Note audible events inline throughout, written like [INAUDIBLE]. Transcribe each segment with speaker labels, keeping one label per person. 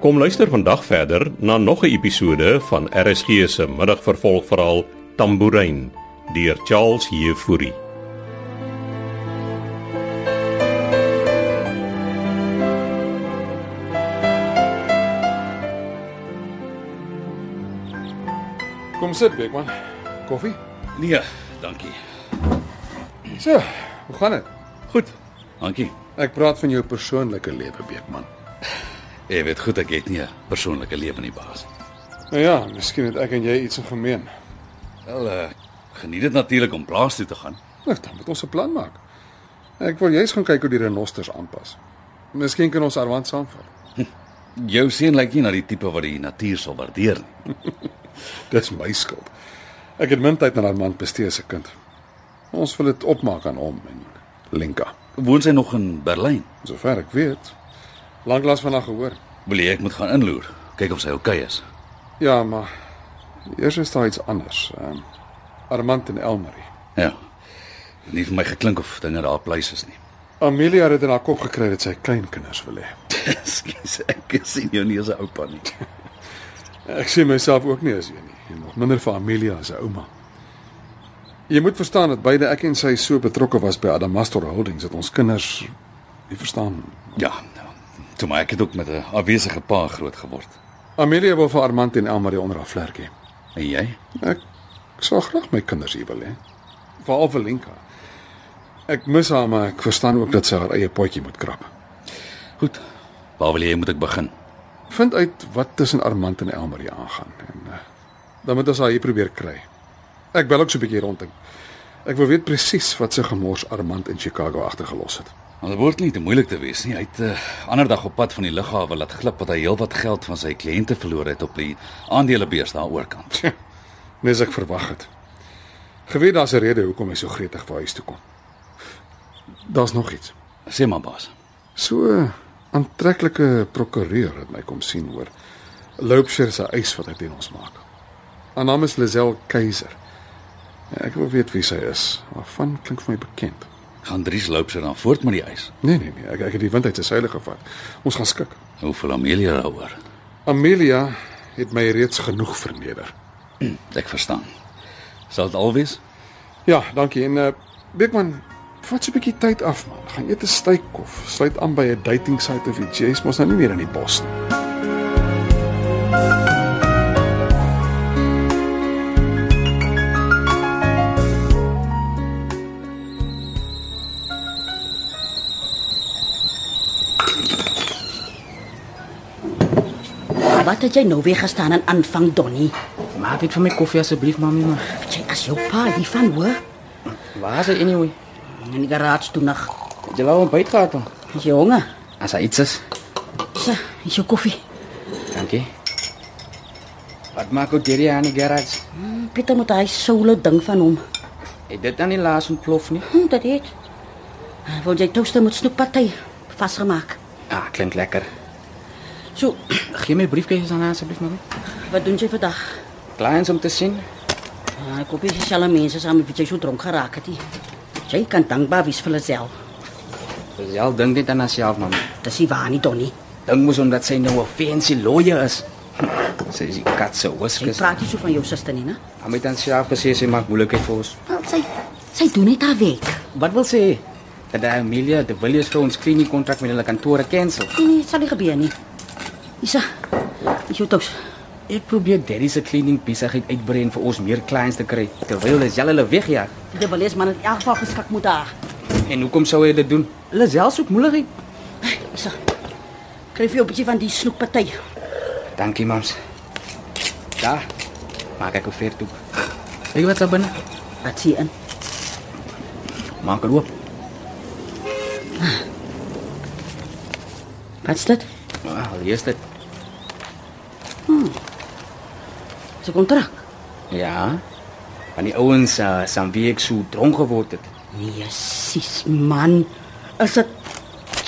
Speaker 1: Kom luister vandag verder na nog 'n episode van RSG se middagvervolgverhaal Tambourine deur Charles Heffury.
Speaker 2: Kom sit, Beekman. Koffie?
Speaker 3: Nee, dankie.
Speaker 2: So, hoe gaan dit?
Speaker 3: Goed. Dankie.
Speaker 2: Ek praat van jou persoonlike lewe, Beekman.
Speaker 3: Jy weet goed ek het nie 'n persoonlike lewe nie, baas.
Speaker 2: Nou ja, miskien het ek en jy iets in gemeen.
Speaker 3: Wel, eh, geniet dit natuurlik om plaas toe te gaan.
Speaker 2: Nou, dan moet ons 'n plan maak. Ek wil juis gaan kyk hoe die renosters aanpas. Miskien kan ons Armand saamvat.
Speaker 3: Jou seun lyk nie na die tipe wat die natuur sal waardeer nie.
Speaker 2: Dis my skuld. Ek het min tyd aan Armand bestee se kind. Ons wil dit opmaak aan hom en Lenka.
Speaker 3: Woon sy nog in Berlyn?
Speaker 2: Sover ek weet, lanklaas van haar gehoor.
Speaker 3: Wil jy ek moet gaan inloer, kyk of sy oukei okay is?
Speaker 2: Ja, maar eers is daar iets anders. Ehm um, Armand en Elmarie.
Speaker 3: Ja. Nie vir my geklink of dinge daar pleis is nie.
Speaker 2: Amelia het in haar kop gekry dat sy kleinkinders wil hê.
Speaker 3: [LAUGHS] Ekskuus, ek sien jou nie as 'n oupa nie.
Speaker 2: Ek sien myself ook nie as een nie, en nog minder vir Amelia as 'n ouma. Jy moet verstaan dat beide ek en sy so betrokke was by Adamastor Holdings dat ons kinders nie verstaan.
Speaker 3: Ja. Toe maar ek het ook met 'n afwesige pa groot geword.
Speaker 2: Amelia wil vir Armand en Elmarie onder haar vlerk hê.
Speaker 3: En jy?
Speaker 2: Ek, ek sal graag my kinders hier wil hê. Veral vir Lenka. Ek mis haar, maar ek verstaan ook dat sy haar eie potjie moet krap.
Speaker 3: Goed. Waar wil jy moet ek begin?
Speaker 2: Vind uit wat tussen Armand en Elmarie aangaan en uh, dan moet ons haar hier probeer kry. Ek bel ook so 'n bietjie rond. Ek, ek wil weet presies wat se gemors Armand in Chicago agtergelos het.
Speaker 3: Maar dit word nie te moeilik te wees nie. Hy het 'n uh, ander dag op pad van die lughawe laat glip wat hy heelwat geld van sy kliënte verloor het op die aandelebeurs daar oorkant.
Speaker 2: Nes ek verwag het. Geweet daar's 'n rede hoekom hy so gretig vir huis toe kom. Daar's nog iets.
Speaker 3: Sê maar baas.
Speaker 2: So 'n aantreklike prokureur het my kom sien hoor. Loupshire se eis wat hy teen ons maak. Haar naam is Lazel Keiser. Ek wil weet wie sy is. Haar van klink vir my bekend.
Speaker 3: Gaan Dries loop sy dan voort met die eis.
Speaker 2: Nee nee nee, ek ek het die wind uit sy seile gevat. Ons gaan skik.
Speaker 3: Hoeveel Amelia daaroor?
Speaker 2: Amelia het my reeds genoeg verneder.
Speaker 3: Ek verstaan. Sal dit alwees?
Speaker 2: Ja, dankie. En uh Beekman, vat so 'n bietjie tyd af man. Gaan eet 'n steak of sluit aan by 'n dating site of iets. Jy's mos nou nie meer in die bos nie.
Speaker 4: Wat het jy nou weer gestaan en aanvang Donnie?
Speaker 5: Maak dit vir my koffie asseblief, mami man.
Speaker 4: Wat jy as jou pa hiervan hoor?
Speaker 5: Waar is hy anyway?
Speaker 4: In die garage toe nog.
Speaker 5: Het jy al ontbyt gehad dan?
Speaker 4: Is jy honger?
Speaker 5: As hy iets is.
Speaker 4: So, is jou koffie.
Speaker 5: Dankie. Wat maak ou Jerry aan die garage?
Speaker 4: Hmm, Pieter moet hy solo ding van hom.
Speaker 5: Het dit dan nie laas ontplof nie?
Speaker 4: Hm, dit het. Hy wou jy toaster met snoepparty vasgemaak.
Speaker 5: Ah, klink lekker. [CLEARS THROAT]
Speaker 4: So,
Speaker 5: Gee my briefkies aan haar asseblief, mami.
Speaker 4: wat doen jy vandag?
Speaker 5: Clients om te sien.
Speaker 4: Ah, ek hoop jy sal mense saam met wie jy so dronk geraak het. nie. Jy kan dankbaar wees vir Lazel.
Speaker 5: Dis al dink net aan haarself, mami.
Speaker 4: Dis nie waar nie Donnie.
Speaker 5: Dink mos omdat sy nou 'n fancy lawyer is. [LAUGHS] sy is die kat se
Speaker 4: Jy
Speaker 5: whiskers.
Speaker 4: praat nie so van jou suster nie, né?
Speaker 5: Hom het aan self gesê sy maak moeilikheid vir ons.
Speaker 4: Wel, sy sy doen net haar werk.
Speaker 5: Wat wil sy? hê? Dat die Amelia de Villiers vir ons klinie kontrak met hulle kantore cancel.
Speaker 4: Nee, nee, dit sal nie gebeur nie. Isa, is jou toks.
Speaker 5: Ek probeer Daddy se cleaning besigheid uitbrei en vir ons meer clients te kry terwyl hulle self hulle wegjaag.
Speaker 4: Die belees man het in elk geval geskik moet daar.
Speaker 5: En hoekom sou hy dit doen? Hulle self soek moeilikheid.
Speaker 4: Isa, kry vir jou 'n bietjie van die snoekparty.
Speaker 5: Dankie, mams. Daar. Maak ek 'n ver toe. Ek wat daar binne.
Speaker 4: Wat sien in?
Speaker 5: Maak dit oop.
Speaker 4: Wat's dit?
Speaker 5: Ah, al is dit.
Speaker 4: Dis 'n kontrak.
Speaker 5: Ja. Van die ouens uh, Samweek so dronk geword het.
Speaker 4: Nee, sis man. Is dit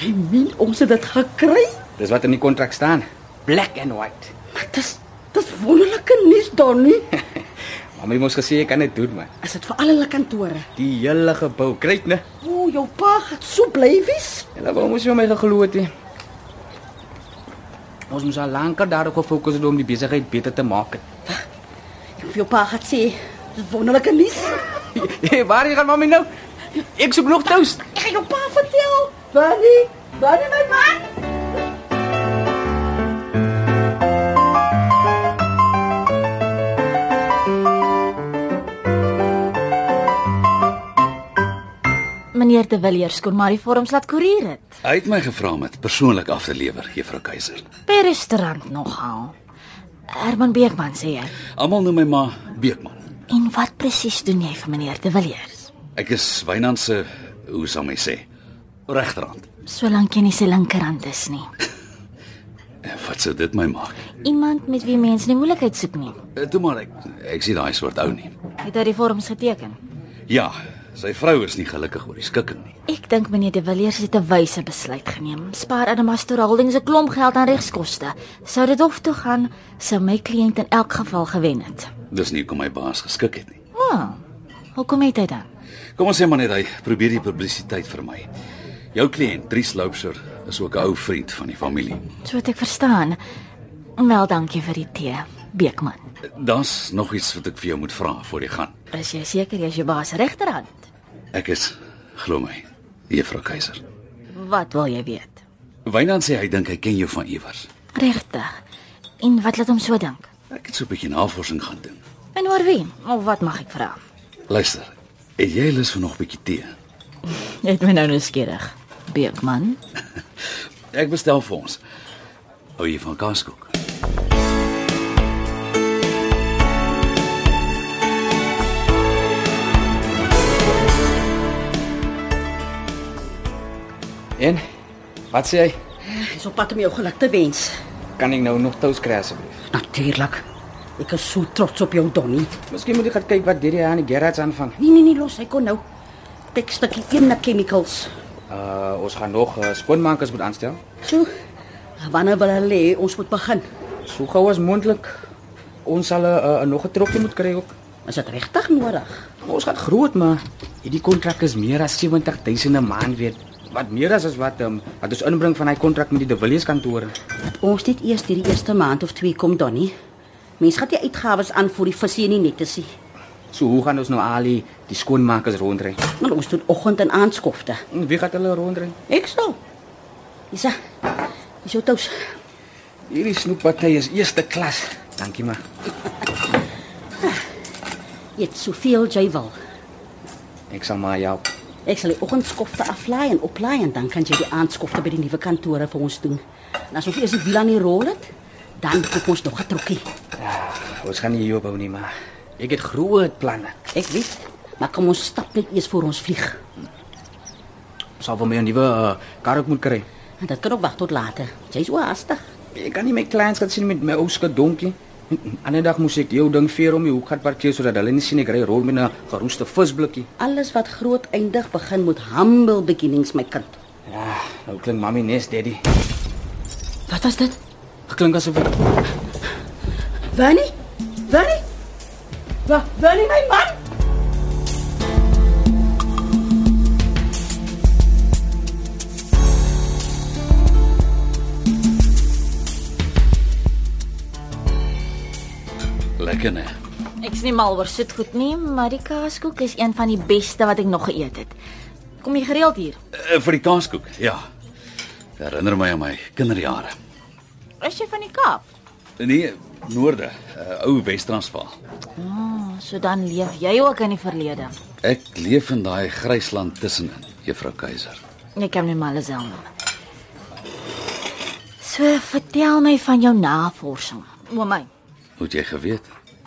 Speaker 4: jy meen ons het dit gekry?
Speaker 5: Dis wat in die kontrak staan. Black and white.
Speaker 4: Maar dis dis wonderlike nuus [LAUGHS] Donnie.
Speaker 5: Mamy mos gesê jy kan dit doen, man.
Speaker 4: Is dit vir al hulle kantore?
Speaker 5: Die hele gebou, kryt, né?
Speaker 4: O, jou pa gaan so bly wees.
Speaker 5: Hulle wou mos jy my geglo het. hè. Ons moes al lanker daarop gefokus het om die besigheid beter te maak. [LAUGHS]
Speaker 4: Ek wil jou pa gaan sê, dis wonderlike nuus.
Speaker 5: Hey, waar gaan mami nou? Ek soek nog toast.
Speaker 4: Ek gaan jou pa vertel. Bunny, Bunny my man.
Speaker 6: Meneer De Villiers kon maar die vorms laat koerier het.
Speaker 3: Hy het my gevra om dit persoonlik af te lewer, Juffrou Keiser.
Speaker 6: Per restaurant nogal. Herman Beekman sê hy.
Speaker 3: Almal noem my maar Beekman.
Speaker 6: En wat presies doen jy vir meneer De Villiers?
Speaker 3: Ek is Wynand se, hoe sal my sê, regterhand.
Speaker 6: Solank jy nie sy linkerhand is nie.
Speaker 3: En Eh, wat sou dit my maak?
Speaker 6: Iemand met wie mense nie moeilikheid soek nie.
Speaker 3: Eh, Toe maar ek ek sien daai soort ou nie.
Speaker 6: Het hy die vorms geteken?
Speaker 3: Ja, sy vrou is nie gelukkig oor die skikking nie.
Speaker 6: Ek dink meneer De Villiers het 'n wyse besluit geneem. Spaar Adamastor Holdings 'n klomp geld aan regskoste. Sou dit hof toe gaan, sou my kliënt in elk geval gewen het.
Speaker 3: Dis nie hoekom my baas geskik het nie.
Speaker 6: Wow. Hoekom het hy dan?
Speaker 3: Kom ons sê maar net hy probeer die publisiteit vir my. Jou kliënt, Dries Loubser, is ook 'n ou vriend van die familie.
Speaker 6: So het ek verstaan. Wel, dankie vir die tee, Beekman.
Speaker 3: Daar's nog iets wat ek vir jou moet vra voor jy gaan.
Speaker 6: Is jy seker jy's jou baas se regterhand?
Speaker 3: Ek is, glo my, Juffrou Keiser.
Speaker 6: Wat wil jy weet?
Speaker 3: Wynand sê hy dink hy ken jou van iewers.
Speaker 6: Regtig. En wat laat hom so dink?
Speaker 3: Ek het so 'n bietjie navorsing gaan doen.
Speaker 6: En oor wie? Of wat mag ek vra?
Speaker 3: Luister, het jy lus vir nog 'n bietjie tee?
Speaker 6: Jy het my nou nuuskierig, Beekman.
Speaker 3: Ek bestel vir ons. Hou jy van kaaskoek?
Speaker 5: En wat sê hy?
Speaker 4: Hy's op pad om jou geluk te wens.
Speaker 5: Kan ek nou nog toast kry asseblief?
Speaker 4: Natuurlik. Ek is so trots op jou, Donnie.
Speaker 5: Miskien moet ek gaan kyk wat hierdie aan die garage aanvang.
Speaker 4: Nee nee nee, los, hy kon nou. Tek stukkie een na chemicals.
Speaker 5: Uh ons gaan nog uh, skoonmakers moet aanstel.
Speaker 4: So, wanneer wil hulle hê ons moet begin?
Speaker 5: So gou as moontlik. Ons sal 'n uh, uh, nog 'n trokkie moet kry ook.
Speaker 4: Is dit regtig nodig?
Speaker 5: Ons gaan groot, maar hierdie kontrak is meer as 70000 'n maand weet. Wat meer as as wat um, wat ons inbring van hy kontrak met die De Villiers kantoor.
Speaker 4: Dat ons net eers hierdie eerste maand of twee kom, Donnie. Mense gaan nie uitgawes aan vir die visie en die nette sien.
Speaker 5: So hoe gaan ons nou al die, die skoonmakers rondry?
Speaker 4: Maar ons doen oggend en aandskofte.
Speaker 5: En Wie gaan hulle rondry?
Speaker 4: Ek sal. Isa. Is jou tous.
Speaker 5: Hierdie snoepparty is eerste klas. Dankie maar.
Speaker 4: Jy het soveel jy wil.
Speaker 5: Ek sal maar help.
Speaker 4: Ek sal die oggendskofte aflaai en oplaai en dan kan jy die aandskofte by die nuwe kantore vir ons doen. En as ons eers die wiel aan die rol het, dan koop ons nog 'n trokkie.
Speaker 5: Ja, ons gaan nie hier ophou nie, maar ek het groot planne.
Speaker 4: Ek weet, maar kom ons stap net eers voor ons vlieg.
Speaker 5: Ons sal vir my 'n nuwe uh, kar ook moet kry.
Speaker 4: En dit kan ook wag tot later. Jy's so haastig.
Speaker 5: Ek kan nie my kleins gaan sien met my ou skadonkie. [LAUGHS] Ander dag moes ek jou ding veer om die hoek gaan parkeer sodat hulle nie sien ek ry rol met 'n geroeste visblikkie.
Speaker 4: Alles wat groot eindig begin met humble beginnings, my kind.
Speaker 5: Ja, nou klink mami nes daddy.
Speaker 4: Wat was dit?
Speaker 5: Klink asof ek
Speaker 4: Wannie? Wannie? Wa, Wannie my man?
Speaker 3: Lekker hè.
Speaker 6: Ek's nie mal oor soet goed nie, maar die kaaskoek is een van die beste wat ek nog geëet het. Kom jy gereeld hier?
Speaker 3: Uh, vir die kaaskoek. Ja. Dit Herinner my aan my kinderjare.
Speaker 6: Is jy van die Kaap?
Speaker 3: Nee, noorde, uh, ou Wes-Transvaal.
Speaker 6: Oh, so dan leef jy ook in die verlede.
Speaker 3: Ek leef in daai grysland tussenin, Juffrou Keiser.
Speaker 6: Ek kan nie mal self noem. So vertel my van jou navorsing. Oom my,
Speaker 3: Moet jy geweet.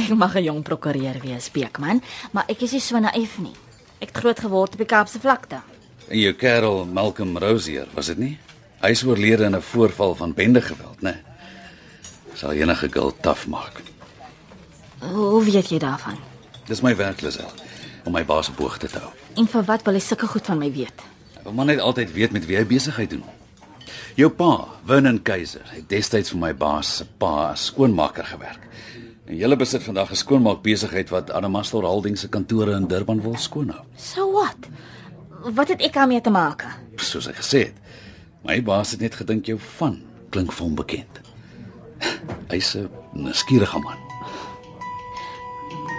Speaker 6: ek mag 'n jong prokureur wees, Beekman, maar ek is nie so naïef nie. Ek het groot geword op die Kaapse vlakte.
Speaker 3: En jou kerel Malcolm Rosier, was dit nie? Hy is oorlede in 'n voorval van bendegeweld, né? Sal enige girl taaf maak.
Speaker 6: Hoe weet jy daarvan?
Speaker 3: Dis my werk, Lisel, om my baas op hoogte te hou.
Speaker 6: En vir wat wil jy sulke goed van my weet?
Speaker 3: Ek wil maar net altyd weet met wie hy besigheid doen. Jou pa, Vernon Keiser, het destyds vir my baas se pa as skoonmaker gewerk. En julle besit vandag 'n skoonmaak besigheid wat Adamastor Holdings se kantore in Durban wil skoonhou,
Speaker 6: So wat? Wat het ek daarmee te maak?
Speaker 3: soos hy gesê het. My baas het net gedink jou van klink vir hom bekend. [LAUGHS] Hy's 'n nuuskierige man.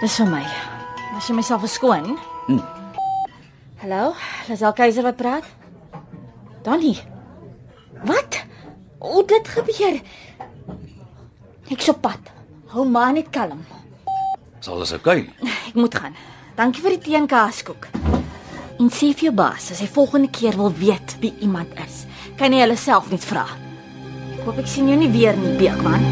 Speaker 6: Dis vir my. As jy myself verskoon. Mm. Hallo, dis al keiser wat praat. Donnie. Wat? Hoe het dit gebeur? Ek sop pad. Hou maar net kalm.
Speaker 3: Is alles oukei? Okay?
Speaker 6: Ek moet gaan. Dankie vir die teenkaaskoek. En sê vir jou baas as hy volgende keer wil weet wie iemand is, kan hy hulle self net vra. Ek hoop ek sien jou nie weer nie, Beekman.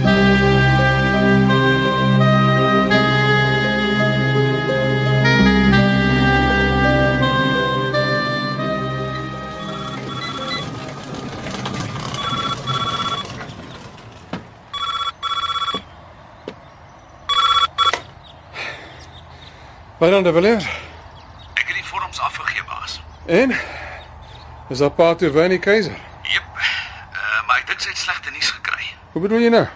Speaker 2: Byron de Villiers.
Speaker 3: Ek het die vorms afgegee, baas.
Speaker 2: En is daar pa toe Winnie Keiser?
Speaker 3: Jep. Uh, maar ek dink sy het slegte nuus gekry.
Speaker 2: Hoe bedoel jy nou?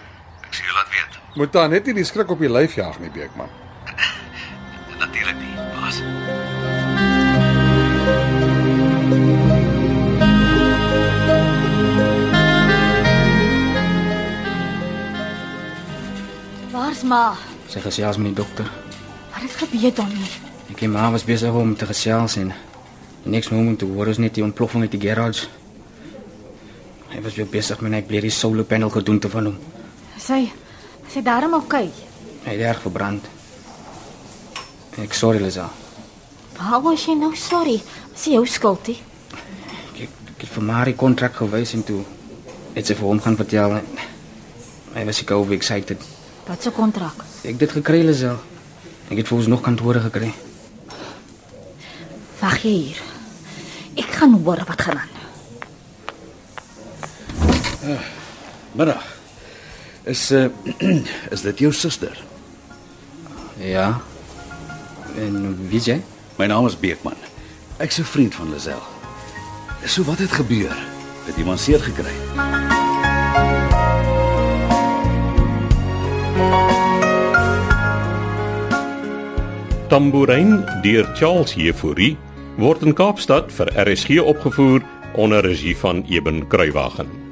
Speaker 3: Ek sê jy laat weet.
Speaker 2: Moet daar net nie die skrik op die lyf jaag nie, Beekman.
Speaker 3: Natuurlik nie, baas.
Speaker 6: Waar's ma?
Speaker 5: Sy gesels met die dokter.
Speaker 6: Wat het gebeur, Donnie?
Speaker 5: Ek en ma was besig om te gesels en die volgende oomblik toe hoor ons dus net die ontploffing uit die garage. Hy was weer besig met hy bleedie solar panel gedoen te van hom.
Speaker 6: Sy sy darm oukei. Okay.
Speaker 5: Hy het erg verbrand. Ek sorry Liza.
Speaker 6: Waarom is jy nou sorry? Dis jou skuldie.
Speaker 5: Ek, ek het vir Marie kontrak gewys en toe het sy vir hom gaan vertel en hy was seker overexcited.
Speaker 6: Wat se kontrak?
Speaker 5: Ek het dit gekry Liza. Ek het vir ons nog kantore gekry.
Speaker 6: Wag jy hier. Ek gaan hoor wat gaan aan.
Speaker 3: Middag. Is uh, [CLEARS THROAT] is dit jou suster?
Speaker 5: Ja. En weet jy?
Speaker 3: My naam is Beekman. Ek's 'n vriend van Lisel. So wat het gebeur? Het iemand seer gekry?
Speaker 1: Tambourine deur Charles Heffouri word in Kaapstad vir RSG opgevoer onder regie van Eben Kruiwagen.